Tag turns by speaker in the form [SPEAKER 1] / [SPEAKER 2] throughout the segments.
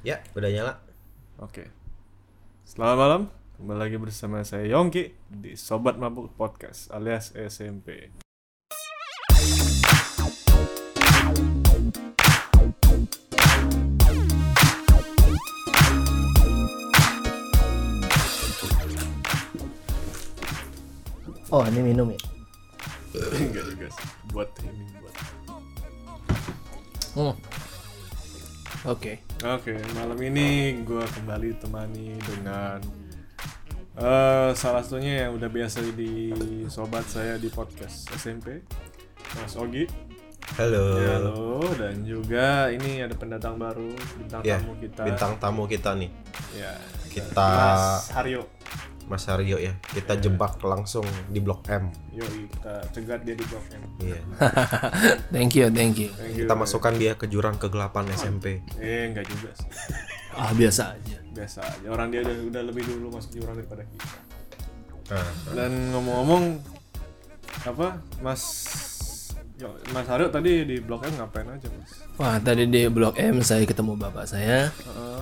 [SPEAKER 1] Ya, udah nyala.
[SPEAKER 2] Oke. Selamat malam. Kembali lagi bersama saya Yongki di Sobat Mabuk Podcast alias SMP.
[SPEAKER 3] Oh ini minum ya?
[SPEAKER 2] Enggak juga sih. Buat ini buat.
[SPEAKER 3] Hmm. Oke.
[SPEAKER 2] Oke, malam ini gua kembali temani dengan eh salah satunya yang udah biasa di sobat saya di podcast SMP. Mas Ogi,
[SPEAKER 1] Halo.
[SPEAKER 2] Ya, halo, dan juga ini ada pendatang baru bintang
[SPEAKER 1] Ya,
[SPEAKER 2] tamu kita.
[SPEAKER 1] bintang tamu kita nih,
[SPEAKER 2] Ya,
[SPEAKER 1] Kita-
[SPEAKER 2] Mas Haryo.
[SPEAKER 1] Mas Aryo ya. Kita jebak langsung di Blok M.
[SPEAKER 2] Yoi, kita cegat dia di Blok M.
[SPEAKER 1] Iya.
[SPEAKER 3] Thank you, thank you.
[SPEAKER 2] Thank you,
[SPEAKER 1] Kita
[SPEAKER 2] Mas.
[SPEAKER 1] masukkan dia ke jurang kegelapan SMP.
[SPEAKER 2] Eh, enggak juga sih.
[SPEAKER 3] Ah biasa aja.
[SPEAKER 2] Biasa aja. Orang dia udah, udah lebih dulu masuk jurang daripada kita.
[SPEAKER 1] Nah,
[SPEAKER 2] Dan ngomong-ngomong apa? Mas Yo, Mas Haryo tadi di Blok M ngapain aja, Mas?
[SPEAKER 3] Wah tadi di Blok M saya ketemu bapak saya
[SPEAKER 2] Heeh.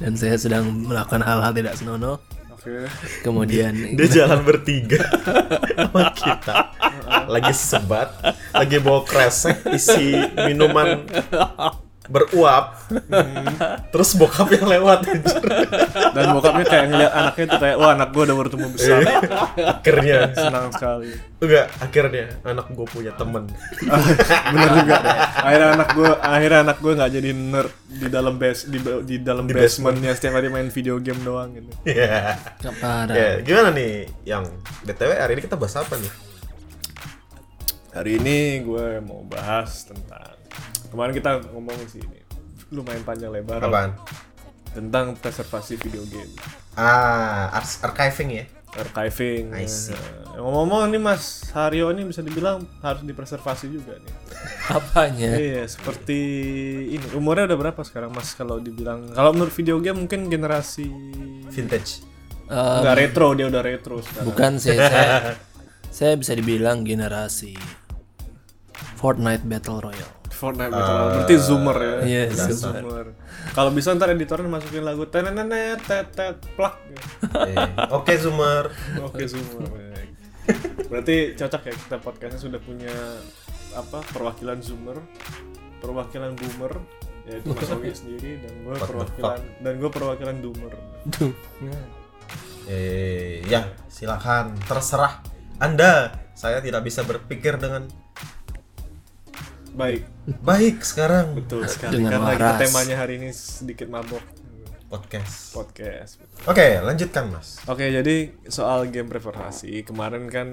[SPEAKER 3] dan saya sedang melakukan hal-hal tidak senonoh.
[SPEAKER 2] Oke.
[SPEAKER 3] Kemudian
[SPEAKER 1] dia jalan bertiga sama kita. Lagi sebat, lagi bawa kresek isi minuman beruap. Terus bokapnya lewat anjir.
[SPEAKER 2] Dan bokapnya kayak ngeliat anaknya tuh kayak wah anak gua udah bertumbuh besar.
[SPEAKER 1] Akhirnya
[SPEAKER 2] Senang sekali.
[SPEAKER 1] enggak akhirnya anak gue punya temen
[SPEAKER 2] Bener juga. Akhirnya anak gua akhirnya anak gua nggak jadi nerd di dalam base di, di dalam
[SPEAKER 1] Di basement.
[SPEAKER 2] basementnya setiap hari main video game doang gitu.
[SPEAKER 1] Iya.
[SPEAKER 3] Nggak parah.
[SPEAKER 1] Ya, gimana nih yang BTW hari ini kita bahas apa nih?
[SPEAKER 2] Hari ini gue mau bahas tentang kemarin kita ngomong sih ini lumayan panjang lebar
[SPEAKER 1] Apaan?
[SPEAKER 2] tentang preservasi video game,
[SPEAKER 1] Ah, ars- archiving ya.
[SPEAKER 2] archiving.
[SPEAKER 1] I see.
[SPEAKER 2] Eh, Ngomong-ngomong nih Mas Haryo ini bisa dibilang harus dipreservasi juga nih.
[SPEAKER 3] Apanya?
[SPEAKER 2] Iya, seperti ini. Umurnya udah berapa sekarang Mas kalau dibilang kalau menurut video game mungkin generasi
[SPEAKER 1] Vintage.
[SPEAKER 3] Eh,
[SPEAKER 2] enggak retro, dia udah retro sekarang.
[SPEAKER 3] bukan sih saya. saya bisa dibilang generasi Fortnite Battle Royale.
[SPEAKER 2] Fortnite Battle Royale. berarti zoomer ya.
[SPEAKER 3] Iya,
[SPEAKER 2] Berarti zoomer. Kalau bisa ntar editornya masukin lagu tenenet tet tet plak.
[SPEAKER 1] Eh, Oke, Zoomer.
[SPEAKER 2] Oke semua. baik. Berarti cocok ya kita podcastnya sudah punya apa perwakilan zoomer, perwakilan boomer, yaitu Mas Ogi sendiri dan gue
[SPEAKER 1] What the
[SPEAKER 2] perwakilan dan gue perwakilan doomer.
[SPEAKER 3] Duh.
[SPEAKER 1] Eh, ya, silakan terserah Anda. Saya tidak bisa berpikir dengan
[SPEAKER 2] Baik,
[SPEAKER 1] baik sekarang
[SPEAKER 2] betul sekali.
[SPEAKER 3] Dengan
[SPEAKER 2] Karena kita
[SPEAKER 3] waras.
[SPEAKER 2] temanya hari ini sedikit mabok
[SPEAKER 1] podcast. Oke,
[SPEAKER 2] podcast.
[SPEAKER 1] lanjutkan, Mas.
[SPEAKER 2] Oke, jadi soal game preferensi kemarin kan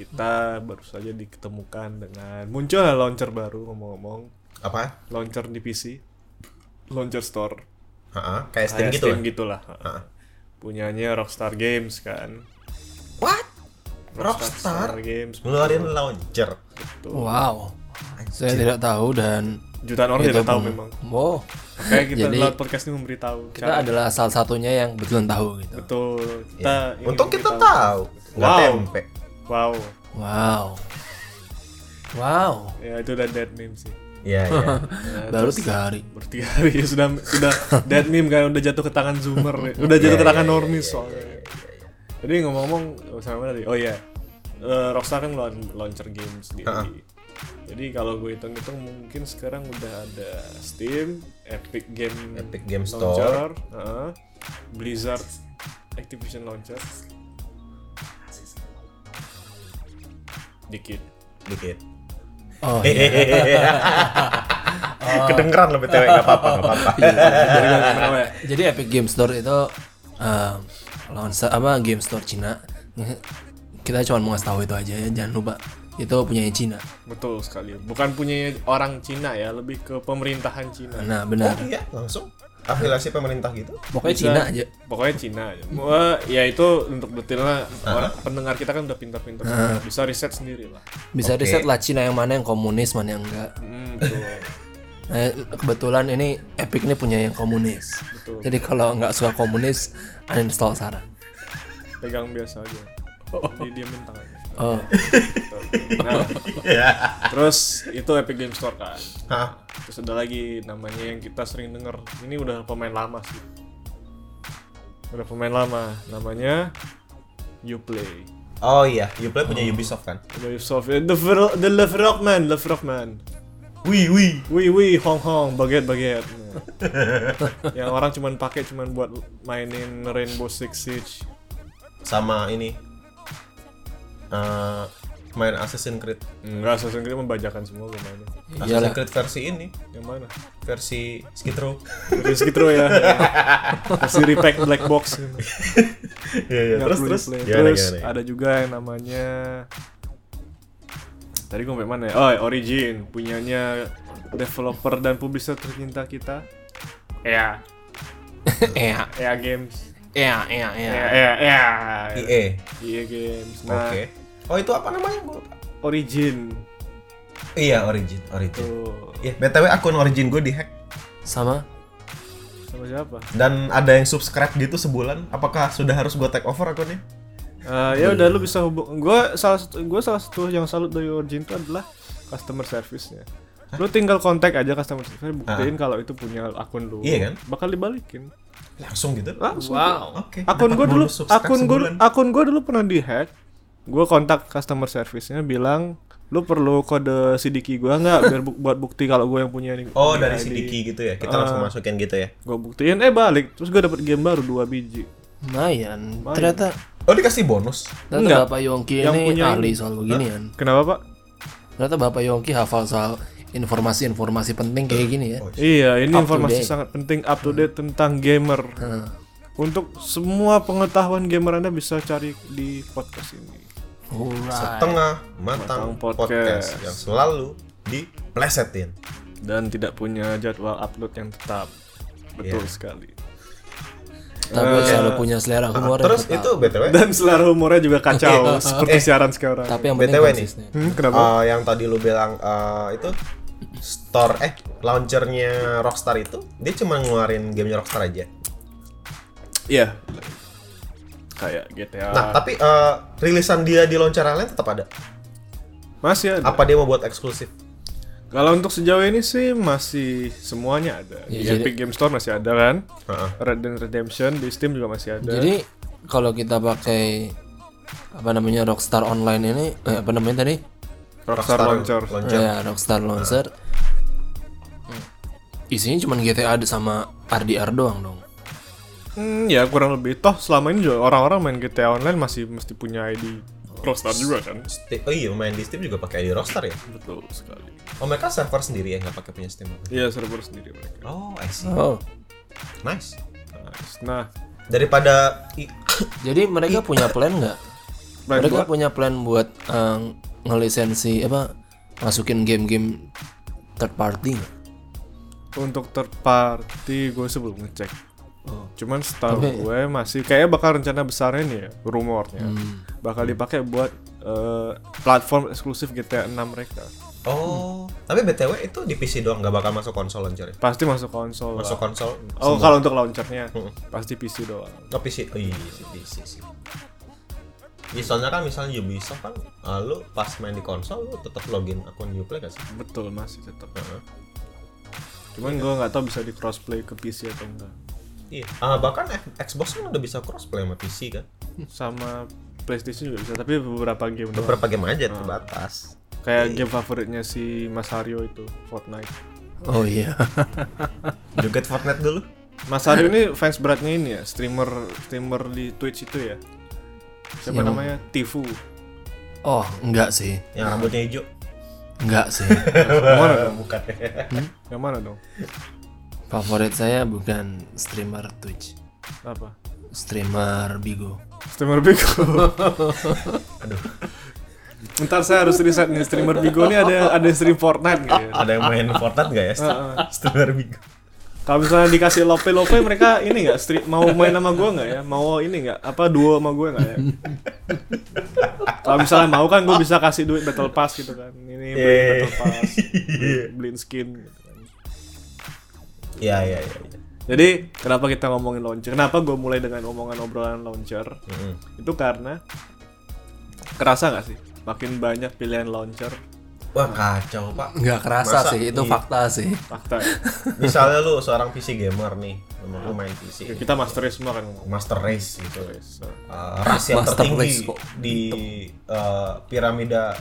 [SPEAKER 2] kita baru saja diketemukan dengan muncul launcher baru ngomong-ngomong
[SPEAKER 1] Apa?
[SPEAKER 2] launcher di PC launcher store
[SPEAKER 1] Heeh, kayak Steam
[SPEAKER 2] kayak
[SPEAKER 1] gitu.
[SPEAKER 2] Steam
[SPEAKER 1] lah.
[SPEAKER 2] gitulah
[SPEAKER 1] Heeh.
[SPEAKER 2] punyanya Rockstar Games kan
[SPEAKER 1] What? Rockstar
[SPEAKER 2] Games
[SPEAKER 1] ngeluarin launcher.
[SPEAKER 3] Wow. Saya tidak tahu dan
[SPEAKER 2] jutaan orang
[SPEAKER 3] itu
[SPEAKER 2] tidak tahu
[SPEAKER 3] pun-
[SPEAKER 2] memang
[SPEAKER 3] Wow.
[SPEAKER 2] makanya kita
[SPEAKER 3] Iya, Jadi-
[SPEAKER 2] lewat podcast ini memberitahu
[SPEAKER 3] Kita adalah salah satunya yang betulan tahu gitu.
[SPEAKER 2] betul kita
[SPEAKER 1] Ya.
[SPEAKER 2] ingin
[SPEAKER 1] Untung kita
[SPEAKER 2] memberitahu.
[SPEAKER 1] tahu. Nggak
[SPEAKER 2] Wow.
[SPEAKER 1] tempe.
[SPEAKER 2] wow
[SPEAKER 3] Wow. Wow.
[SPEAKER 2] ya itu udah dead meme sih
[SPEAKER 1] Iya, iya.
[SPEAKER 2] Eh,
[SPEAKER 3] Baru tiga hari.
[SPEAKER 2] bertiga hari ya sudah sudah dead meme kan udah jatuh ke tangan zoomer ya. udah jatuh
[SPEAKER 1] Iya,
[SPEAKER 2] ke tangan normis soalnya jadi ngomong-ngomong sama mana tadi oh iya Eh, Rockstar kan laun- launcher games di
[SPEAKER 1] Ha-ha.
[SPEAKER 2] jadi kalau gue hitung-hitung mungkin sekarang udah ada Steam Epic Game
[SPEAKER 1] Epic Game
[SPEAKER 2] Launcher heeh. Blizzard Activision Launcher dikit
[SPEAKER 1] Dikit.
[SPEAKER 3] Oh
[SPEAKER 1] Eh,
[SPEAKER 3] iya.
[SPEAKER 1] Hehehe. Kedengeran lebih tewe nggak apa-apa nggak apa-apa.
[SPEAKER 2] Jadi gimana, gimana, Wak?
[SPEAKER 3] Jadi Epic Game Store itu eh, launcher apa game store Cina. Kita cuma mau ngasih tahu itu aja ya, jangan lupa. Itu punyanya Cina.
[SPEAKER 2] betul sekali bukan punya orang Cina ya lebih ke pemerintahan Cina
[SPEAKER 3] Nah, benar.
[SPEAKER 1] Iya langsung afiliasi pemerintah gitu.
[SPEAKER 3] Pokoknya
[SPEAKER 2] Bisa.
[SPEAKER 3] Cina aja.
[SPEAKER 2] pokoknya Cina aja. Gua, ya itu untuk detailnya orang pendengar kita kan udah pintar-pintar bisa riset sendiri lah
[SPEAKER 3] Bisa
[SPEAKER 1] Oke.
[SPEAKER 3] riset lah Cina yang mana yang komunis, mana yang enggak.
[SPEAKER 2] hmm, betul
[SPEAKER 3] Nah, kebetulan ini Epic ini punya yang komunis.
[SPEAKER 2] Betul.
[SPEAKER 3] Jadi kalau nggak suka komunis, uninstall sekarang.
[SPEAKER 2] pegang biasa aja di diamin tangannya gitu.
[SPEAKER 3] Oh,
[SPEAKER 2] Nah,
[SPEAKER 1] Ya.
[SPEAKER 2] terus itu Epic Game Store kan.
[SPEAKER 1] Hah?
[SPEAKER 2] Terus ada lagi namanya yang kita sering denger. Ini udah pemain lama sih. Udah pemain lama. Namanya Uplay.
[SPEAKER 1] Oh iya, Uplay punya Ubisoft kan?
[SPEAKER 2] Ubisoft. eh, The, Ver- the Love Rockman. Love Rockman.
[SPEAKER 1] Wih, wih.
[SPEAKER 2] Wih wih hong hong baget baget. yang orang cuman pakai cuman buat mainin Rainbow Six Siege.
[SPEAKER 1] Sama ini. eh main Assassin's Creed.
[SPEAKER 2] Enggak, Assassin's Creed membajakan semua gue mainnya.
[SPEAKER 1] Assassin's
[SPEAKER 3] iyalah.
[SPEAKER 1] Creed versi ini,
[SPEAKER 2] Yang mana?
[SPEAKER 1] versi Skid Row.
[SPEAKER 2] Dari segitu ya. Masih repack black box. gitu.
[SPEAKER 1] Iya, iya.
[SPEAKER 2] Nggak
[SPEAKER 1] Terus
[SPEAKER 2] perlu
[SPEAKER 1] terus.
[SPEAKER 2] di-play.
[SPEAKER 1] Gimana,
[SPEAKER 2] Terus
[SPEAKER 1] gimana?
[SPEAKER 2] ada juga yang namanya Tadi gue sampai mana ya? Oh, Origin punyanya developer dan publisher tercinta kita. Ea,
[SPEAKER 3] Iya,
[SPEAKER 2] Ea Games. E
[SPEAKER 3] iya, iya,
[SPEAKER 1] Ya.
[SPEAKER 3] iya.
[SPEAKER 2] Ea, Ea, Ea.
[SPEAKER 1] EA.
[SPEAKER 2] EA E Games.
[SPEAKER 1] E Oke.
[SPEAKER 2] Nah,
[SPEAKER 1] Oh, itu apa namanya? Gua lupa.
[SPEAKER 2] Origin
[SPEAKER 1] Iya, Origin, Origin.
[SPEAKER 2] tuh
[SPEAKER 1] Iya, BTW akun Origin gue dihack
[SPEAKER 3] Sama
[SPEAKER 2] sama siapa?
[SPEAKER 1] dan ada yang subscribe gitu sebulan. Apakah sudah harus gue take over akunnya?
[SPEAKER 2] Eh, ya udah lu bisa hubung. Gue salah satu gue salah satu yang salut dari Origin itu adalah customer service-nya. Lu tinggal kontak aja customer service, buktiin kalau itu punya akun
[SPEAKER 1] Ah.
[SPEAKER 2] lu.
[SPEAKER 1] Iya kan?
[SPEAKER 2] Bakal dibalikin.
[SPEAKER 1] Langsung gitu.
[SPEAKER 2] Langsung.
[SPEAKER 3] Wow.
[SPEAKER 1] Oke.
[SPEAKER 2] Akun
[SPEAKER 1] dapat
[SPEAKER 2] gue dulu
[SPEAKER 1] bonus subscribe
[SPEAKER 2] akun gue
[SPEAKER 1] sebulan.
[SPEAKER 2] akun gue dulu pernah dihack. Gue kontak customer service-nya bilang lu perlu kode sidiki gue nggak biar bu- buat bukti kalau gue yang punya ini.
[SPEAKER 1] Oh, dari Sidiki gitu ya. Kita
[SPEAKER 2] Ah.
[SPEAKER 1] langsung masukin gitu ya.
[SPEAKER 2] Gue buktiin eh balik. Terus gue dapet game baru dua biji.
[SPEAKER 3] lumayan. Ternyata
[SPEAKER 1] Oh, dikasih bonus.
[SPEAKER 2] Enggak.
[SPEAKER 3] ternyata Bapak Yongki
[SPEAKER 2] Yang
[SPEAKER 3] ini
[SPEAKER 2] punya
[SPEAKER 3] ahli soal
[SPEAKER 1] Hmm.
[SPEAKER 3] beginian.
[SPEAKER 2] Kenapa, Pak?
[SPEAKER 3] Ternyata Bapak Yongki hafal soal informasi-informasi penting kayak gini ya.
[SPEAKER 2] Iya, ini
[SPEAKER 3] Up to
[SPEAKER 2] informasi
[SPEAKER 3] date.
[SPEAKER 2] sangat penting up to date tentang gamer.
[SPEAKER 3] Heeh.
[SPEAKER 2] Untuk semua pengetahuan gamer Anda bisa cari di podcast ini.
[SPEAKER 1] iya.
[SPEAKER 3] Alright.
[SPEAKER 1] Tengah matang,
[SPEAKER 2] Ah, iya. Matang
[SPEAKER 1] podcast.
[SPEAKER 2] podcast.
[SPEAKER 1] yang selalu diplesetin.
[SPEAKER 2] Dan tidak punya jadwal upload yang tetap. Betul
[SPEAKER 3] Iya.
[SPEAKER 2] sekali.
[SPEAKER 3] Tapi selalu punya selera humor. ya. yang
[SPEAKER 1] Terus
[SPEAKER 3] tetap.
[SPEAKER 1] itu BTW
[SPEAKER 2] Dan selera humornya juga kacau
[SPEAKER 3] Iya.
[SPEAKER 2] seperti
[SPEAKER 3] Eh.
[SPEAKER 2] siaran sekarang.
[SPEAKER 3] tapi yang penting
[SPEAKER 1] BTW nih.
[SPEAKER 3] konsisten.
[SPEAKER 2] Hmm, kenapa?
[SPEAKER 1] eh, yang tadi lu bilang eh, itu store eh launchernya Rockstar itu dia cuma ngeluarin gamenya Rockstar aja.
[SPEAKER 2] Iya. Kayak GTA.
[SPEAKER 1] Nah, tapi eh, rilisan dia di launcher lain tetap ada.
[SPEAKER 2] masih ada.
[SPEAKER 1] Apa dia mau buat eksklusif?
[SPEAKER 2] Kalau untuk sejauh ini sih masih semuanya ada. Di
[SPEAKER 3] Iya, jadi-
[SPEAKER 2] Epic Game Store masih ada kan?
[SPEAKER 1] Heeh.
[SPEAKER 2] Red Dead Redemption di Steam juga masih ada.
[SPEAKER 3] Jadi kalau kita pakai apa namanya Rockstar Online ini eh, apa namanya tadi?
[SPEAKER 2] Rockstar, Launcher.
[SPEAKER 1] launcher.
[SPEAKER 3] Ya, Rockstar Launcher. Isinya cuma GTA ada sama RDR doang dong.
[SPEAKER 2] Hmm, ya kurang lebih. Toh selama ini juga orang-orang main GTA Online masih mesti punya ID Rockstar juga kan?
[SPEAKER 1] Sti- Oh iya, main di Steam juga pakai di Rockstar ya.
[SPEAKER 2] Betul sekali.
[SPEAKER 1] Oh mereka server sendiri ya nggak pakai punya Steam.
[SPEAKER 2] Iya server sendiri mereka.
[SPEAKER 1] Oh, I see.
[SPEAKER 3] Oh.
[SPEAKER 1] Nice.
[SPEAKER 2] Nice. Nah,
[SPEAKER 1] Daripada i-
[SPEAKER 3] Jadi mereka punya plan nggak?
[SPEAKER 2] plan
[SPEAKER 3] Mereka
[SPEAKER 2] buat
[SPEAKER 3] punya plan buat eh, ngelisensi apa masukin game-game third party nggak?
[SPEAKER 2] untuk third party gue sebelum ngecek. Cuman setahu
[SPEAKER 3] Tapi-
[SPEAKER 2] gue masih kayaknya bakal rencana besarnya nih ya, rumornya. Bakal dipakai buat eh, platform eksklusif GTA 6 mereka.
[SPEAKER 1] Oh, tapi BTW itu di PC doang nggak bakal masuk konsol launcher ya?
[SPEAKER 2] Pasti masuk Hmm. konsol.
[SPEAKER 1] Masuk
[SPEAKER 2] lah.
[SPEAKER 1] konsol
[SPEAKER 2] Oh, kalau untuk launchernya
[SPEAKER 1] Mm.
[SPEAKER 2] pasti PC doang.
[SPEAKER 1] ke PC. Oh iya, sih, PC sih. Ya, soalnya kan misalnya Ubisoft kan eh, lu pas main di konsol lu tetap login akun Uplay gak sih?
[SPEAKER 2] Betul masih tetap.
[SPEAKER 1] Heeh.
[SPEAKER 2] Cuman gue nggak tahu bisa di crossplay ke PC atau enggak.
[SPEAKER 1] Iya. Ah, bahkan F- Xbox kan udah bisa crossplay sama PC kan.
[SPEAKER 2] sama PlayStation juga bisa, tapi beberapa game doang.
[SPEAKER 1] Beberapa game aja terbatas.
[SPEAKER 2] Kayak game favoritnya si Mas Haryo itu, Fortnite.
[SPEAKER 3] Oh iya.
[SPEAKER 1] Joget Fortnite dulu.
[SPEAKER 2] Mas Haryo ini fans beratnya ini ya, streamer streamer di Twitch itu ya.
[SPEAKER 1] Iya.
[SPEAKER 2] Siapa
[SPEAKER 3] Yang-
[SPEAKER 2] namanya? Tifu.
[SPEAKER 3] Oh, enggak sih.
[SPEAKER 1] Yang rambutnya hijau.
[SPEAKER 3] Enggak sih.
[SPEAKER 1] Mana bukan.
[SPEAKER 2] Yang mana dong?
[SPEAKER 3] Favorit saya bukan streamer Twitch,
[SPEAKER 2] Apa?
[SPEAKER 3] streamer Bigo.
[SPEAKER 2] Streamer Bigo.
[SPEAKER 1] Aduh,
[SPEAKER 2] Bentar saya harus riset nih streamer Bigo ini ada ada stream Fortnite nggak ya?
[SPEAKER 1] ada yang main Fortnite gak ya? Streamer Bigo.
[SPEAKER 2] Kalau misalnya dikasih lope-lope mereka ini nggak stream mau main sama gue nggak ya? Mau ini nggak? Apa duo sama gue nggak ya? Kalau misalnya mau kan gue bisa kasih duit battle pass gitu kan. Ini beli
[SPEAKER 1] Yeah.
[SPEAKER 2] battle pass, beli- beliin skin. Gitu kan.
[SPEAKER 1] Iya, iya, iya. iya.
[SPEAKER 2] Jadi kenapa kita ngomongin launcher? Kenapa gue mulai dengan omongan obrolan launcher?
[SPEAKER 1] Mm-mm.
[SPEAKER 2] Itu karena kerasa nggak sih makin banyak pilihan launcher
[SPEAKER 1] Wah kacau pak.
[SPEAKER 3] nggak kerasa
[SPEAKER 1] Masa?
[SPEAKER 3] sih itu
[SPEAKER 1] Iya.
[SPEAKER 3] fakta sih
[SPEAKER 2] fakta ya.
[SPEAKER 1] Misalnya lu seorang PC gamer nih, emang lu main PC.
[SPEAKER 2] Ya, kita mastery semua kan ngomong eh,
[SPEAKER 1] Master Race gitu.
[SPEAKER 2] Race.
[SPEAKER 1] Uh, ras yang
[SPEAKER 3] Ah, Master Race
[SPEAKER 1] tertinggi
[SPEAKER 3] kok.
[SPEAKER 1] di eh, piramida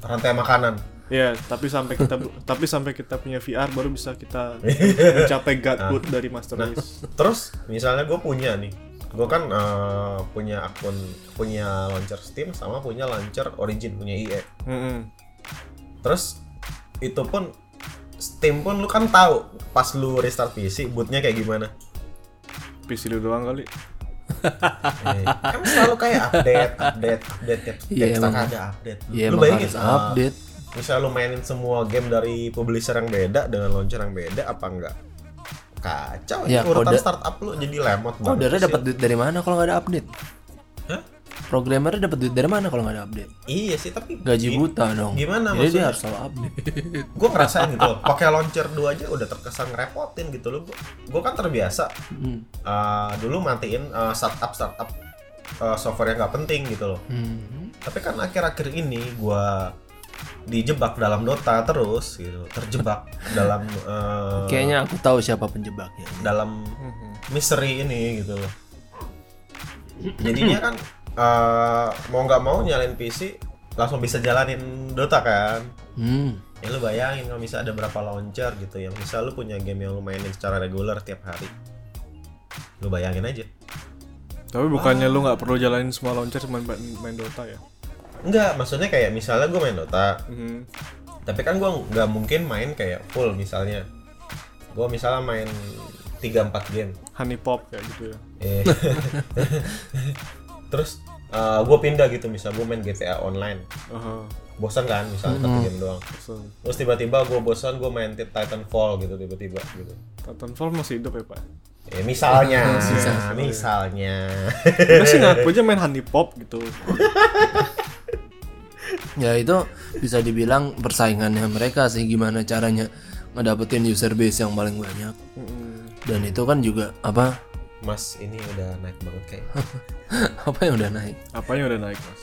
[SPEAKER 1] rantai makanan.
[SPEAKER 2] ya tapi sampai kita tapi sampai kita punya VR baru bisa kita mencapai godhood dari master
[SPEAKER 1] Nah,
[SPEAKER 2] race
[SPEAKER 1] terus misalnya gue punya nih, gue kan eh, punya akun punya launcher Steam sama punya launcher Origin punya IE.
[SPEAKER 2] Mm-mm.
[SPEAKER 1] Terus itu pun Steam pun lu kan tahu pas lu restart PC bootnya kayak gimana.
[SPEAKER 2] PC lu doang kali
[SPEAKER 1] Eh, kan selalu kayak update, update, update tiap
[SPEAKER 3] Iya,
[SPEAKER 1] tiap setengah
[SPEAKER 3] emang.
[SPEAKER 1] ada update.
[SPEAKER 3] ya
[SPEAKER 1] lu
[SPEAKER 3] emang
[SPEAKER 1] bayangin
[SPEAKER 3] harus
[SPEAKER 1] eh,
[SPEAKER 3] update
[SPEAKER 1] Misal lu mainin semua game dari publisher yang beda dengan launcher yang beda apa enggak? Kacau ya,
[SPEAKER 3] Ya,
[SPEAKER 1] urutan
[SPEAKER 3] kode-
[SPEAKER 1] startup lu jadi lemot banget.
[SPEAKER 3] codernya
[SPEAKER 1] Ah, sih.
[SPEAKER 3] dapat Oh, duit dari mana kalau nggak ada update
[SPEAKER 1] Hah?
[SPEAKER 3] programmernya dapat duit dari mana kalau nggak ada update
[SPEAKER 1] Iya sih, tapi
[SPEAKER 3] gaji buta dong
[SPEAKER 1] Gimana
[SPEAKER 3] jadi dia
[SPEAKER 1] maksudnya?
[SPEAKER 3] harus selalu update
[SPEAKER 1] gue ngerasain gitu loh, pakai launcher 2 aja udah terkesan ngerepotin gitu loh gue kan terbiasa
[SPEAKER 3] Hmm.
[SPEAKER 1] eh, dulu matiin eh, startup startup eh, software yang nggak penting gitu loh
[SPEAKER 3] Hmm.
[SPEAKER 1] tapi kan akhir-akhir ini gue dijebak dalam Dota terus gitu terjebak dalam eh,
[SPEAKER 3] kayaknya aku tahu siapa penjebaknya
[SPEAKER 1] dalam misteri ini gitu loh jadinya kan eh, mau nggak mau nyalain PC langsung bisa jalanin Dota kan
[SPEAKER 3] hmm.
[SPEAKER 1] ya lu bayangin kalau misalnya ada berapa launcher gitu yang bisa lu punya game yang lu mainin secara reguler tiap hari lu bayangin aja
[SPEAKER 2] tapi bukannya lu nggak perlu jalanin semua launcher cuma main, main Dota ya
[SPEAKER 1] enggak maksudnya kayak misalnya gue main Dota
[SPEAKER 2] Mhm.
[SPEAKER 1] tapi kan gue nggak mungkin main kayak full misalnya gue misalnya main 3-4 game
[SPEAKER 2] honey pop kayak gitu ya
[SPEAKER 1] Eh, terus gue pindah gitu misalnya gue main GTA online
[SPEAKER 2] Aha,
[SPEAKER 1] bosan kan misalnya
[SPEAKER 3] Hmm.
[SPEAKER 1] satu game doang
[SPEAKER 2] so,
[SPEAKER 1] terus tiba-tiba gue bosan gue main Titanfall gitu tiba-tiba gitu
[SPEAKER 2] Titanfall masih hidup ya pak
[SPEAKER 1] Eh, misalnya,
[SPEAKER 3] Misalnya.
[SPEAKER 1] misalnya,
[SPEAKER 2] Gue sih ngaku aja main honey pop gitu
[SPEAKER 3] ya itu bisa dibilang persaingannya mereka sih gimana caranya ngedapetin user base yang paling banyak
[SPEAKER 2] Mm-mm.
[SPEAKER 3] dan itu kan juga apa
[SPEAKER 1] Mas ini udah naik banget kayak.
[SPEAKER 3] apa yang udah naik
[SPEAKER 2] apanya udah naik mas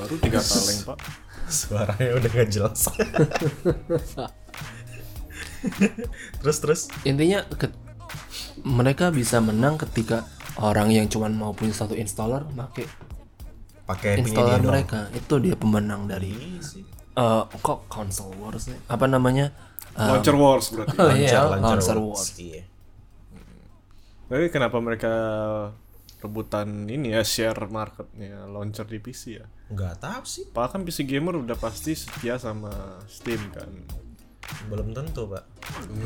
[SPEAKER 2] baru tiga kaleng pak
[SPEAKER 1] Suaranya udah gak jelas. terus terus
[SPEAKER 3] intinya ke- mereka bisa menang ketika orang yang cuman mau punya satu installer pakai
[SPEAKER 1] pakai punya dia
[SPEAKER 3] installer
[SPEAKER 1] doang.
[SPEAKER 3] mereka itu dia pemenang dari
[SPEAKER 1] Iya sih.
[SPEAKER 3] eh, kok console wars nih? apa namanya Eh,
[SPEAKER 2] launcher wars berarti
[SPEAKER 3] oh iya,
[SPEAKER 1] Lancar, lancar
[SPEAKER 3] launcher
[SPEAKER 1] words.
[SPEAKER 3] wars
[SPEAKER 1] Iya.
[SPEAKER 2] Tapi kenapa mereka rebutan ini ya share marketnya launcher di PC ya?
[SPEAKER 1] Nggak tahu sih,
[SPEAKER 2] Padahal kan PC gamer udah pasti setia sama Steam kan.
[SPEAKER 1] belum tentu pak.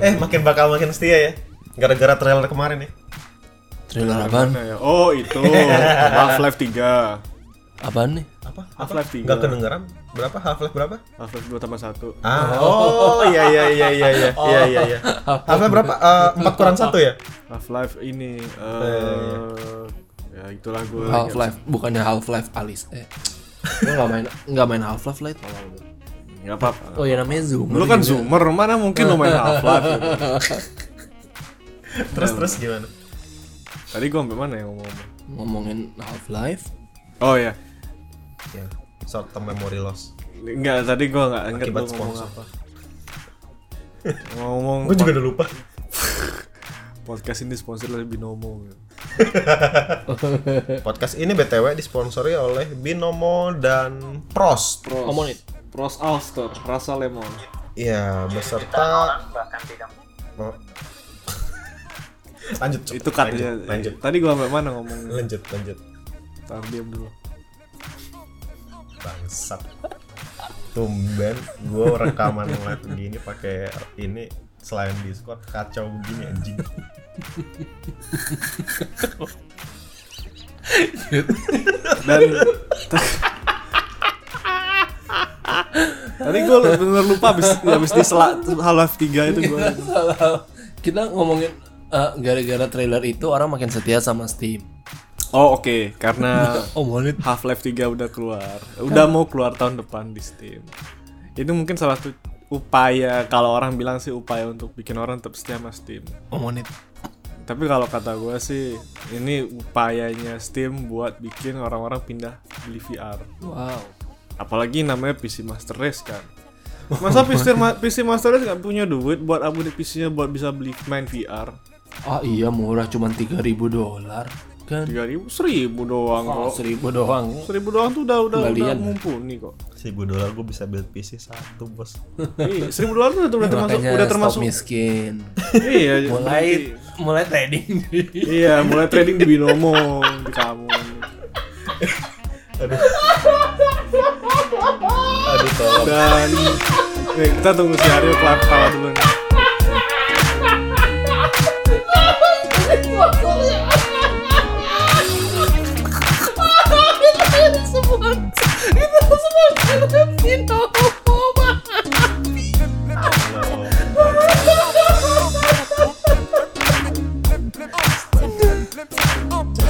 [SPEAKER 1] Eh makin bakal makin setia ya, gara-gara trailer kemarin ya.
[SPEAKER 3] trailer apaan
[SPEAKER 2] Nah ya, oh itu Half-Life 3.
[SPEAKER 3] apaan nih
[SPEAKER 1] Apa?
[SPEAKER 2] Half-Life 3.
[SPEAKER 1] Nggak kedengeran? Berapa? Half Life berapa?
[SPEAKER 2] Half-Life 2 tambah 1.
[SPEAKER 1] Ah, oh iya iya iya iya iya iya iya. iya. Half Life berapa? Eh, Empat kurang satu ya?
[SPEAKER 2] Half-Life ini
[SPEAKER 1] Oh,
[SPEAKER 2] eh
[SPEAKER 1] iya,
[SPEAKER 2] ya itulah gue.
[SPEAKER 3] Half Life bukannya Half Life Alice eh gue nggak main nggak main Half Life lah itu.
[SPEAKER 2] Enggak apa-apa.
[SPEAKER 3] oh ya namanya Zoom
[SPEAKER 2] Lu kan zoomer, mana mungkin lu main Half-Life. gitu.
[SPEAKER 1] Terus terus gimana?
[SPEAKER 2] Tadi gue sampai mana ya ngomong?
[SPEAKER 3] ngomongin Half Life
[SPEAKER 2] Oh ya,
[SPEAKER 1] Ya, short term memory loss.
[SPEAKER 2] enggak tadi gue enggak ingat
[SPEAKER 1] Akibat
[SPEAKER 2] gue ngomong
[SPEAKER 1] sponsor.
[SPEAKER 2] apa. ngomong
[SPEAKER 1] Gue juga udah lupa.
[SPEAKER 2] podcast ini sponsor oleh Binomo gitu.
[SPEAKER 1] Podcast ini BTW disponsori oleh Binomo dan Prost.
[SPEAKER 2] Pros.
[SPEAKER 3] Ngomongin.
[SPEAKER 2] Pros Ulster, rasa lemon.
[SPEAKER 1] Iya, beserta Oh. lanjut, Cok.
[SPEAKER 2] Itu katanya. Eh,
[SPEAKER 1] lanjut, lanjut,
[SPEAKER 2] Tadi gua sampai mana ngomong?
[SPEAKER 1] lanjut, lanjut.
[SPEAKER 2] Tar diam dulu.
[SPEAKER 1] Bangsat. Tumben gua rekaman live begini pakai ini selain Discord kacau begini anjing.
[SPEAKER 2] Dan t- Tadi gua bener lupa abis, abis di sela, half tiga itu gua
[SPEAKER 3] Salah. kita ngomongin eh, gara-gara trailer itu orang makin setia sama Steam
[SPEAKER 2] Oh oke, karena
[SPEAKER 3] oh monit
[SPEAKER 2] Half-Life 3 udah keluar. Udah mau keluar tahun depan di Steam. Itu mungkin salah satu upaya kalau orang bilang sih upaya untuk bikin orang tetap setia sama Steam.
[SPEAKER 3] oh monit
[SPEAKER 2] Tapi kalau kata gue sih, ini upayanya Steam buat bikin orang-orang pindah beli VR.
[SPEAKER 3] wow
[SPEAKER 2] apalagi namanya PC Master Race kan masa PC, Ma- PC Master Race nggak punya duit buat upgrade PC-nya buat bisa beli main VR
[SPEAKER 3] Ah iya murah cuman 3000 dolar kan.
[SPEAKER 2] tiga ribu seribu doang
[SPEAKER 3] Oh,
[SPEAKER 2] kok
[SPEAKER 3] 1000 doang.
[SPEAKER 2] seribu doang tuh udah udah udah
[SPEAKER 3] Kembalian.
[SPEAKER 2] mumpuni kok
[SPEAKER 1] Seribu dolar gue bisa build PC satu bos.
[SPEAKER 2] Iya, seribu dolar tuh udah termasuk
[SPEAKER 3] Makanya
[SPEAKER 2] udah
[SPEAKER 3] stop
[SPEAKER 2] termasuk
[SPEAKER 3] miskin.
[SPEAKER 2] iya
[SPEAKER 3] Mulai mulai trading.
[SPEAKER 2] iya mulai trading di binomo di kamu
[SPEAKER 1] Aduh. Aduh tolong.
[SPEAKER 2] dan nih, kita tunggu si Aryo kelar kepala dulu nih
[SPEAKER 1] ya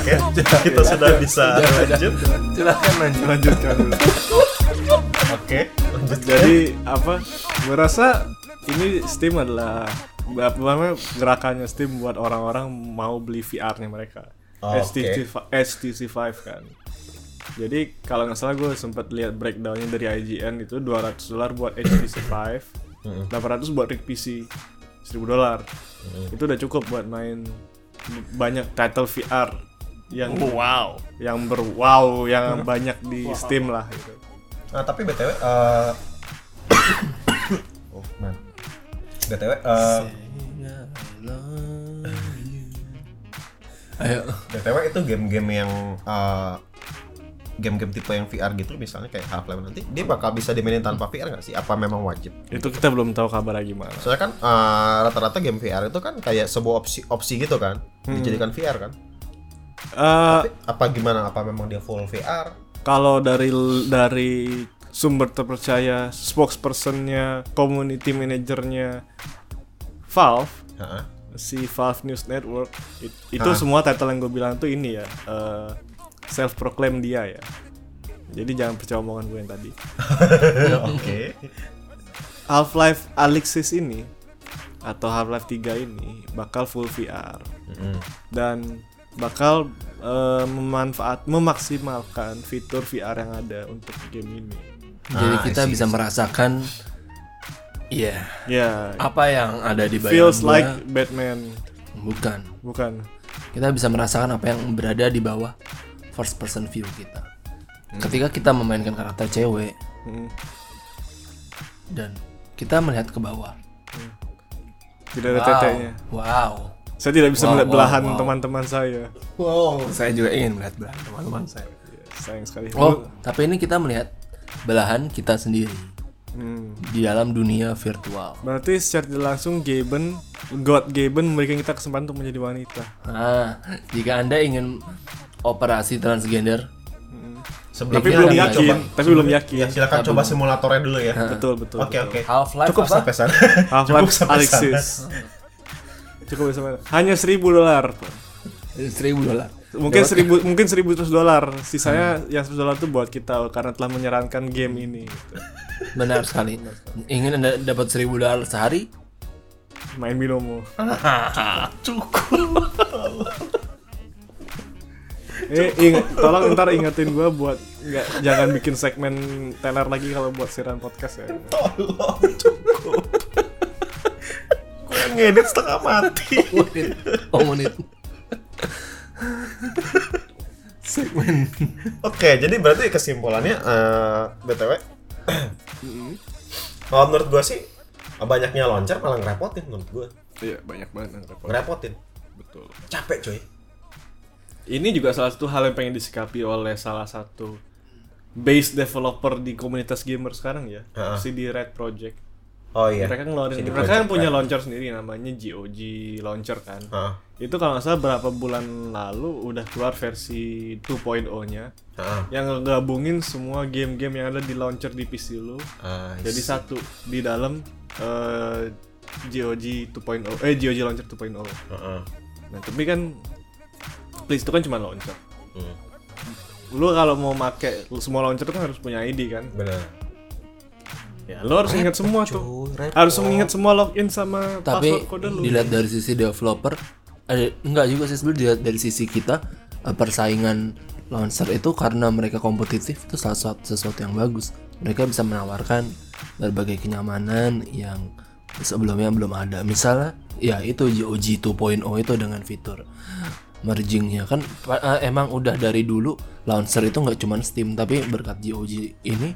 [SPEAKER 1] Oke, jadi kita sudah bisa lanjut.
[SPEAKER 3] Silakan lanjut.
[SPEAKER 2] lanjutkan dulu
[SPEAKER 1] Oke, lanjut.
[SPEAKER 2] jadi apa gue rasa ini Steam adalah apa namanya gerakannya Steam buat orang-orang mau beli VR-nya mereka
[SPEAKER 1] Oh,
[SPEAKER 2] HTC, HTC 5 kan jadi kalau nggak salah gue sempat lihat breakdownnya dari IGN itu 200 dolar buat HTC 5
[SPEAKER 1] Mm-mm.
[SPEAKER 2] 800 buat rig PC 1000 dolar itu udah cukup buat main banyak title VR yang wow yang berwow yang banyak di Steam lah gitu.
[SPEAKER 1] Nah, tapi BTW eh Oh, man. BTW eh
[SPEAKER 3] Ayo.
[SPEAKER 1] BTW itu game-game yang eh, game-game tipe yang VR gitu misalnya kayak Half-Life nanti dia bakal bisa dimainin tanpa VR nggak sih? Apa memang wajib?
[SPEAKER 2] itu kita belum tahu kabarnya gimana
[SPEAKER 1] Soalnya kan eh, rata-rata game VR itu kan kayak sebuah opsi opsi gitu kan,
[SPEAKER 2] Hmm.
[SPEAKER 1] dijadikan VR kan.
[SPEAKER 2] Eh,
[SPEAKER 1] Apa gimana? Apa memang dia full VR?
[SPEAKER 2] kalau dari dari sumber terpercaya spokespersonnya community manajernya Valve
[SPEAKER 1] Heeh.
[SPEAKER 2] si Valve News Network it- itu semua title yang gue bilang tuh ini ya self proclaim dia ya jadi jangan percaya omongan gue yang tadi
[SPEAKER 1] Oke.
[SPEAKER 2] Half Life Alyxis ini atau Half Life 3 ini bakal full VR
[SPEAKER 1] Mm-mm.
[SPEAKER 2] dan bakal eh, memanfaat memaksimalkan fitur VR yang ada untuk game ini
[SPEAKER 3] Jadi
[SPEAKER 1] Ah,
[SPEAKER 3] kita
[SPEAKER 1] I see,
[SPEAKER 3] bisa merasakan Iya,
[SPEAKER 2] ya
[SPEAKER 3] apa yang ada di bayangan
[SPEAKER 2] feels
[SPEAKER 3] gua.
[SPEAKER 2] like Batman
[SPEAKER 3] bukan.
[SPEAKER 2] bukan
[SPEAKER 3] Kita bisa merasakan apa yang berada di bawah first person view kita. Ketika kita memainkan karakter cewek
[SPEAKER 2] Mm.
[SPEAKER 3] dan kita melihat ke bawah.
[SPEAKER 2] tidak ada
[SPEAKER 3] Wow.
[SPEAKER 2] tetenya
[SPEAKER 3] Wow.
[SPEAKER 2] saya tidak bisa
[SPEAKER 3] Wow,
[SPEAKER 2] melihat
[SPEAKER 3] wow,
[SPEAKER 2] belahan
[SPEAKER 3] wow.
[SPEAKER 2] teman-teman saya
[SPEAKER 3] Wow. Saya juga ingin melihat belahan teman-teman saya.
[SPEAKER 2] Ya, sayang sekali
[SPEAKER 3] Oh, tapi ini kita melihat belahan kita sendiri
[SPEAKER 2] Hmm.
[SPEAKER 3] di dalam dunia virtual.
[SPEAKER 2] Berarti secara tidak langsung Gaben, God Gaben memberikan kita kesempatan untuk menjadi wanita.
[SPEAKER 3] Nah, jika Anda ingin operasi transgender,
[SPEAKER 1] Sebelum
[SPEAKER 2] Tapi
[SPEAKER 3] Iya,
[SPEAKER 2] belum
[SPEAKER 3] iya,
[SPEAKER 2] yakin,
[SPEAKER 3] coba.
[SPEAKER 2] tapi belum yakin.
[SPEAKER 1] Ya, silakan coba simulatornya dulu ya.
[SPEAKER 2] Betul, betul.
[SPEAKER 1] Oke, oke.
[SPEAKER 3] Half-Life
[SPEAKER 1] Cukup
[SPEAKER 3] apa?
[SPEAKER 1] sampai sana. Cukup
[SPEAKER 2] Half-Life
[SPEAKER 1] sampai sana.
[SPEAKER 2] Alexis. Cukup sama. Hanya 1000 dolar.
[SPEAKER 3] 1000 dolar.
[SPEAKER 2] Mungkin 1000 mungkin 1100 dolar. Sisanya
[SPEAKER 1] Hmm.
[SPEAKER 2] yang 100 dolar itu buat kita karena telah menyarankan game ini. gitu.
[SPEAKER 3] Benar sekali. Ingin Anda dapat 1000 dolar sehari?
[SPEAKER 2] Main Binomo.
[SPEAKER 3] Cukup.
[SPEAKER 2] Eh, ing- tolong ntar ingetin gua buat nggak jangan bikin segmen teler lagi kalau buat siaran podcast ya.
[SPEAKER 1] Tolong, cukup. Gue yang ngedit setengah mati.
[SPEAKER 3] Oh, menit. Segmen.
[SPEAKER 1] Oke, jadi berarti kesimpulannya eh, BTW Kalau menurut gue sih banyaknya loncat malah ngerepotin menurut gue
[SPEAKER 2] Iya, banyak banget yang repot.
[SPEAKER 1] ngerepotin
[SPEAKER 2] Betul.
[SPEAKER 1] capek coy
[SPEAKER 2] ini juga salah satu hal yang pengen disikapi oleh salah satu base developer di komunitas gamer sekarang ya
[SPEAKER 1] Heeh.
[SPEAKER 2] CD Red Project
[SPEAKER 1] oh iya
[SPEAKER 2] mereka ngeluarin
[SPEAKER 1] CD
[SPEAKER 2] mereka kan
[SPEAKER 1] Projekt
[SPEAKER 2] punya
[SPEAKER 1] Red.
[SPEAKER 2] launcher sendiri namanya GOG launcher kan
[SPEAKER 1] ya. Heeh,
[SPEAKER 2] itu kalau nggak salah berapa bulan lalu udah keluar versi 2.0 nya
[SPEAKER 1] heeh.
[SPEAKER 2] yang ngegabungin semua game-game yang ada di launcher di PC lu
[SPEAKER 1] Ah,
[SPEAKER 2] jadi
[SPEAKER 1] is-
[SPEAKER 2] satu di dalam eh, GOG 2.0 eh GOG launcher 2.0
[SPEAKER 1] heeh.
[SPEAKER 2] nah tapi kan please itu kan cuma launcher
[SPEAKER 1] Hmm,
[SPEAKER 2] lu kalau mau make semua launcher tuh kan harus punya ID kan
[SPEAKER 1] benar
[SPEAKER 2] ya lu harus ingat semua tuh
[SPEAKER 1] Cuy, repot.
[SPEAKER 2] harus mengingat semua login sama
[SPEAKER 3] Tapi
[SPEAKER 2] password kode lu
[SPEAKER 3] dilihat dari sisi developer, eh, enggak juga sih sebenarnya dilihat dari sisi kita eh, persaingan launcher itu karena mereka kompetitif itu salah satu sesuatu yang bagus. Mereka bisa menawarkan berbagai kenyamanan yang sebelumnya belum ada. Misalnya ya itu GOG 2.0 itu dengan fitur mergingnya kan pa- eh, emang udah dari dulu launcher itu nggak cuman Steam tapi berkat GOG ini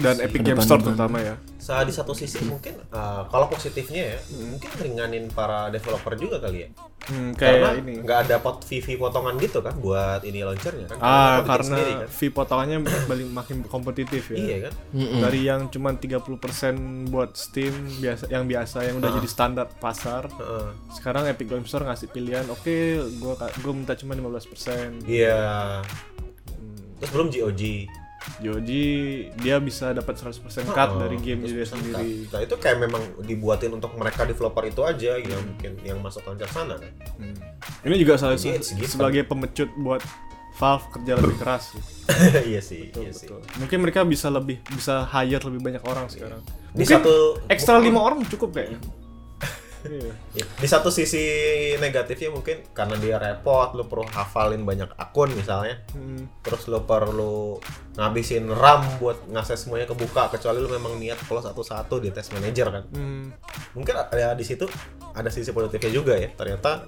[SPEAKER 2] dan Epic Game Store terutama ya
[SPEAKER 1] Sa- di satu sisi mungkin eh, kalau positifnya ya mungkin ringanin para developer juga kali ya
[SPEAKER 2] hmm,
[SPEAKER 1] karena
[SPEAKER 2] kayak ini
[SPEAKER 1] nggak ada pot VV potongan gitu kan buat ini launchernya kan
[SPEAKER 2] ah
[SPEAKER 1] Mereka bikin
[SPEAKER 2] karena
[SPEAKER 1] sendiri kan.
[SPEAKER 2] fee potongannya balik makin kompetitif ya
[SPEAKER 1] iya kan
[SPEAKER 2] dari yang cuma 30% buat Steam biasa yang biasa yang udah
[SPEAKER 1] Ah.
[SPEAKER 2] jadi standar pasar
[SPEAKER 1] Heeh.
[SPEAKER 2] sekarang Epic Game Store ngasih pilihan oke gua ka- gua minta cuma 15%
[SPEAKER 1] iya
[SPEAKER 2] Hmm.
[SPEAKER 1] terus belum GOG
[SPEAKER 2] GOG dia bisa dapat 100% cut
[SPEAKER 1] Heeh,
[SPEAKER 2] dari
[SPEAKER 1] Ah,
[SPEAKER 2] game
[SPEAKER 1] terus
[SPEAKER 2] dia
[SPEAKER 1] bisa
[SPEAKER 2] sendiri
[SPEAKER 1] Oh, cut. nah itu kayak memang dibuatin untuk mereka developer itu aja yang
[SPEAKER 2] Hmm.
[SPEAKER 1] mungkin yang masuk launcher sana kan
[SPEAKER 2] ini juga salah
[SPEAKER 1] Jadi,
[SPEAKER 2] satu
[SPEAKER 1] segitu.
[SPEAKER 2] sebagai pemecut buat Valve kerja lebih keras sih.
[SPEAKER 1] iya kan? sih iya sih
[SPEAKER 2] Betul. Mungkin mereka bisa lebih bisa hire lebih banyak orang sekarang.
[SPEAKER 1] Di
[SPEAKER 2] Mungkin
[SPEAKER 1] Iya. satu-
[SPEAKER 2] ekstra lima orang cukup kayaknya. Iya.
[SPEAKER 1] Ya, Di satu sisi negatifnya mungkin karena dia repot, lu perlu hafalin banyak akun misalnya.
[SPEAKER 2] Hmm.
[SPEAKER 1] Terus lu perlu ngabisin RAM buat ngakses semuanya kebuka kecuali lu memang niat close satu-satu di test manager kan.
[SPEAKER 2] Hmm.
[SPEAKER 1] Mungkin ada di situ ada sisi positifnya juga ya. Ternyata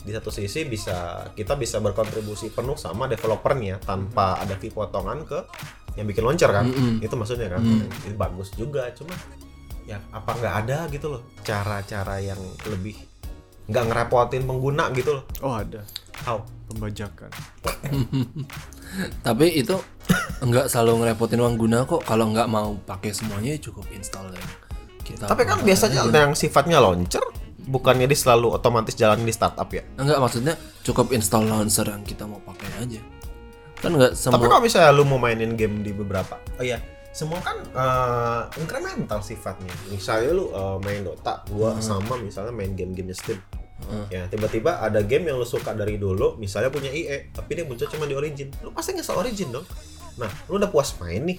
[SPEAKER 1] di satu sisi bisa kita bisa berkontribusi penuh sama developernya tanpa ada fee potongan ke yang bikin launcher kan.
[SPEAKER 3] Mm-mm.
[SPEAKER 1] Itu maksudnya kan. Itu bagus juga cuma ya apa nggak ada gitu loh cara-cara yang lebih nggak ngerepotin pengguna gitu loh.
[SPEAKER 2] Oh ada
[SPEAKER 1] How?
[SPEAKER 2] pembajakan.
[SPEAKER 3] Tapi itu nggak selalu ngerepotin uang guna kok. Kalau nggak mau pakai semuanya ya cukup install yang kita.
[SPEAKER 1] Tapi kan biasanya yang sifatnya launcher bukannya dia selalu otomatis jalan di startup ya.
[SPEAKER 3] Enggak maksudnya cukup install launcher yang kita mau pakai aja. Kan nggak
[SPEAKER 1] Tapi
[SPEAKER 3] semua.
[SPEAKER 1] kalau misalnya lu mau mainin game di beberapa, oh iya, semua kan eh, incremental sifatnya. Misalnya lu eh, main Dota, gua sama misalnya main game-game Steam. Ya, tiba-tiba ada game yang lu suka dari dulu, misalnya punya IE, tapi dia muncul cuma di Origin. Lu pasti ngesel Origin dong. Nah, lu udah puas main nih.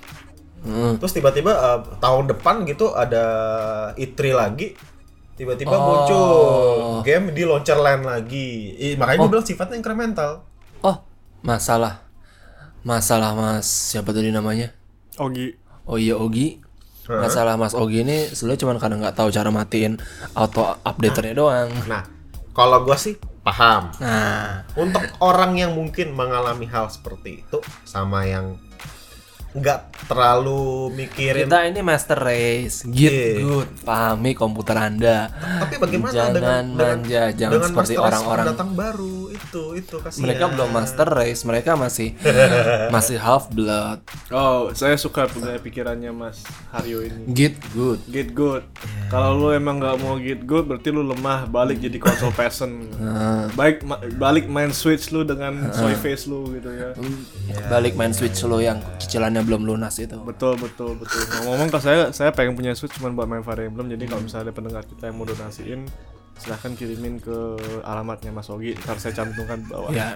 [SPEAKER 3] Heeh.
[SPEAKER 1] Terus tiba-tiba eh, tahun depan gitu ada E3 lagi. Tiba-tiba
[SPEAKER 3] Oh.
[SPEAKER 1] muncul game di launcher lain lagi. Ih, makanya gua bilang sifatnya incremental.
[SPEAKER 3] Oh masalah masalah mas siapa tadi namanya?
[SPEAKER 2] Ogi.
[SPEAKER 3] Oh iya Ogi. Masalah Mas Ogi ini sebenarnya cuma karena nggak tahu cara matiin auto updaternya doang.
[SPEAKER 1] Nah, kalau gua sih paham.
[SPEAKER 3] Nah,
[SPEAKER 1] untuk orang yang mungkin mengalami hal seperti itu sama yang nggak terlalu mikirin
[SPEAKER 3] kita ini master race, get
[SPEAKER 1] Iya.
[SPEAKER 3] good, pahami komputer Anda.
[SPEAKER 1] tapi bagaimana
[SPEAKER 3] Jangan
[SPEAKER 1] dengan
[SPEAKER 3] manja, jangan seperti
[SPEAKER 1] master
[SPEAKER 3] orang-orang.
[SPEAKER 1] pendatang baru itu itu kasihan
[SPEAKER 3] Mereka
[SPEAKER 2] Iya.
[SPEAKER 3] belum master race, mereka masih masih half blood,
[SPEAKER 2] Oh saya suka punya pikirannya Mas Haryo ini.
[SPEAKER 3] get good.
[SPEAKER 2] Get good. Kalau lu emang nggak mau get good, berarti lu lemah. Balik jadi console person. Baik ma- balik main Switch lu dengan soy face lu gitu ya.
[SPEAKER 3] Balik main switch lo yang cicilannya belum lunas itu.
[SPEAKER 2] Betul betul betul. Ngomong-ngomong kalau saya saya pengen punya Switch cuma buat main Fire Emblem. Jadi kalau misalnya ada pendengar kita yang mau donasiin silahkan kirimin ke alamatnya Mas Ogi ntar saya cantumkan di bawah
[SPEAKER 1] Iya.
[SPEAKER 3] Ya,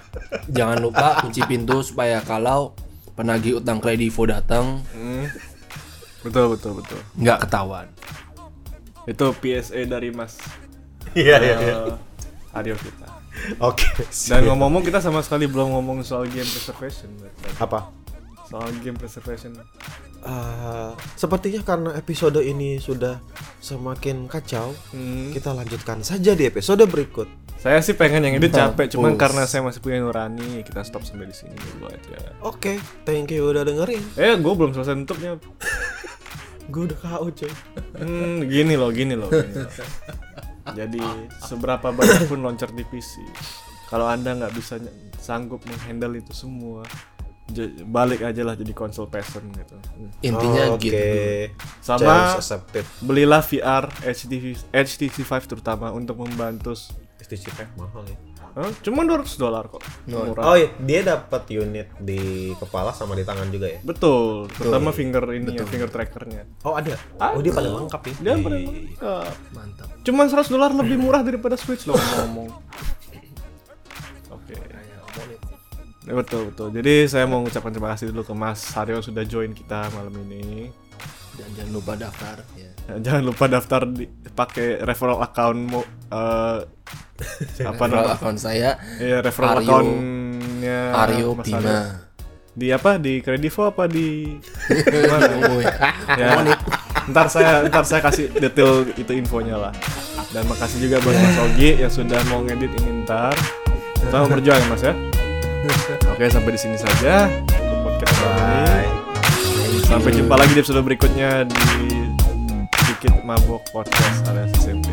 [SPEAKER 3] jangan lupa kunci pintu supaya kalau penagih utang kredivo datang
[SPEAKER 2] Hmm. betul betul betul
[SPEAKER 3] nggak ketahuan.
[SPEAKER 2] itu PSA dari Mas
[SPEAKER 1] iya iya iya.
[SPEAKER 2] eh, Aryo kita
[SPEAKER 1] oke
[SPEAKER 2] dan
[SPEAKER 1] Iya.
[SPEAKER 2] ngomong-ngomong kita sama sekali belum ngomong soal game preservation Bert.
[SPEAKER 1] apa
[SPEAKER 2] soal game preservation
[SPEAKER 1] Eh, sepertinya karena episode ini sudah semakin kacau
[SPEAKER 2] Hmm.
[SPEAKER 1] kita lanjutkan saja di episode berikut
[SPEAKER 2] saya sih pengen yang ini
[SPEAKER 1] Nah,
[SPEAKER 2] capek cuman
[SPEAKER 3] Mampus.
[SPEAKER 2] karena saya masih punya nurani kita stop sampai di sini dulu aja
[SPEAKER 1] oke thank you udah dengerin
[SPEAKER 2] eh gue belum selesai nutupnya
[SPEAKER 1] gue udah KO coy
[SPEAKER 2] Hmm, gini loh, gini loh. Gini loh. Jadi seberapa banyak pun launcher di PC, kalau anda nggak bisa ny- sanggup menghandle itu semua, j- balik aja lah jadi console person gitu.
[SPEAKER 3] Intinya gitu.
[SPEAKER 1] oke
[SPEAKER 3] get good.
[SPEAKER 2] Sama-
[SPEAKER 1] Challenge accepted
[SPEAKER 2] Belilah VR HTC HTC 5 terutama untuk membantu. s-
[SPEAKER 1] STCP mahal ya
[SPEAKER 2] Hah? Cuma 200 dolar kok. Murah.
[SPEAKER 1] Oh iya, dia dapat unit di kepala sama di tangan juga ya?
[SPEAKER 2] Betul, terutama finger ini ya, finger trackernya.
[SPEAKER 1] Oh ada? Oh dia paling lengkap ya?
[SPEAKER 2] Dia paling lengkap.
[SPEAKER 3] Mantap.
[SPEAKER 2] Cuman 100 dolar lebih murah daripada Switch loh ngomong. Oke. Ya, betul betul. Jadi saya mau mengucapkan terima kasih dulu ke Mas Haryo sudah join kita malam ini.
[SPEAKER 3] Dan jangan lupa daftar. Ya.
[SPEAKER 2] Ya, Jangan lupa daftar di pakai referral account mo, eh, apa
[SPEAKER 3] Kalau
[SPEAKER 2] namanya?
[SPEAKER 3] akun saya
[SPEAKER 2] Iya, referral
[SPEAKER 3] Aryo.
[SPEAKER 2] account temennya
[SPEAKER 3] Aryo
[SPEAKER 2] Mas
[SPEAKER 3] Bima.
[SPEAKER 2] Aryo. Di apa? Di Kredivo apa di
[SPEAKER 3] Oh, ya.
[SPEAKER 2] ya ntar saya ntar saya kasih detail itu infonya lah dan makasih juga buat Mas Ogi yang sudah mau ngedit ini ntar sama berjuang ya, Mas ya oke sampai di sini saja untuk podcast kali ini sampai jumpa lagi di episode berikutnya di sedikit mabok podcast alias SMP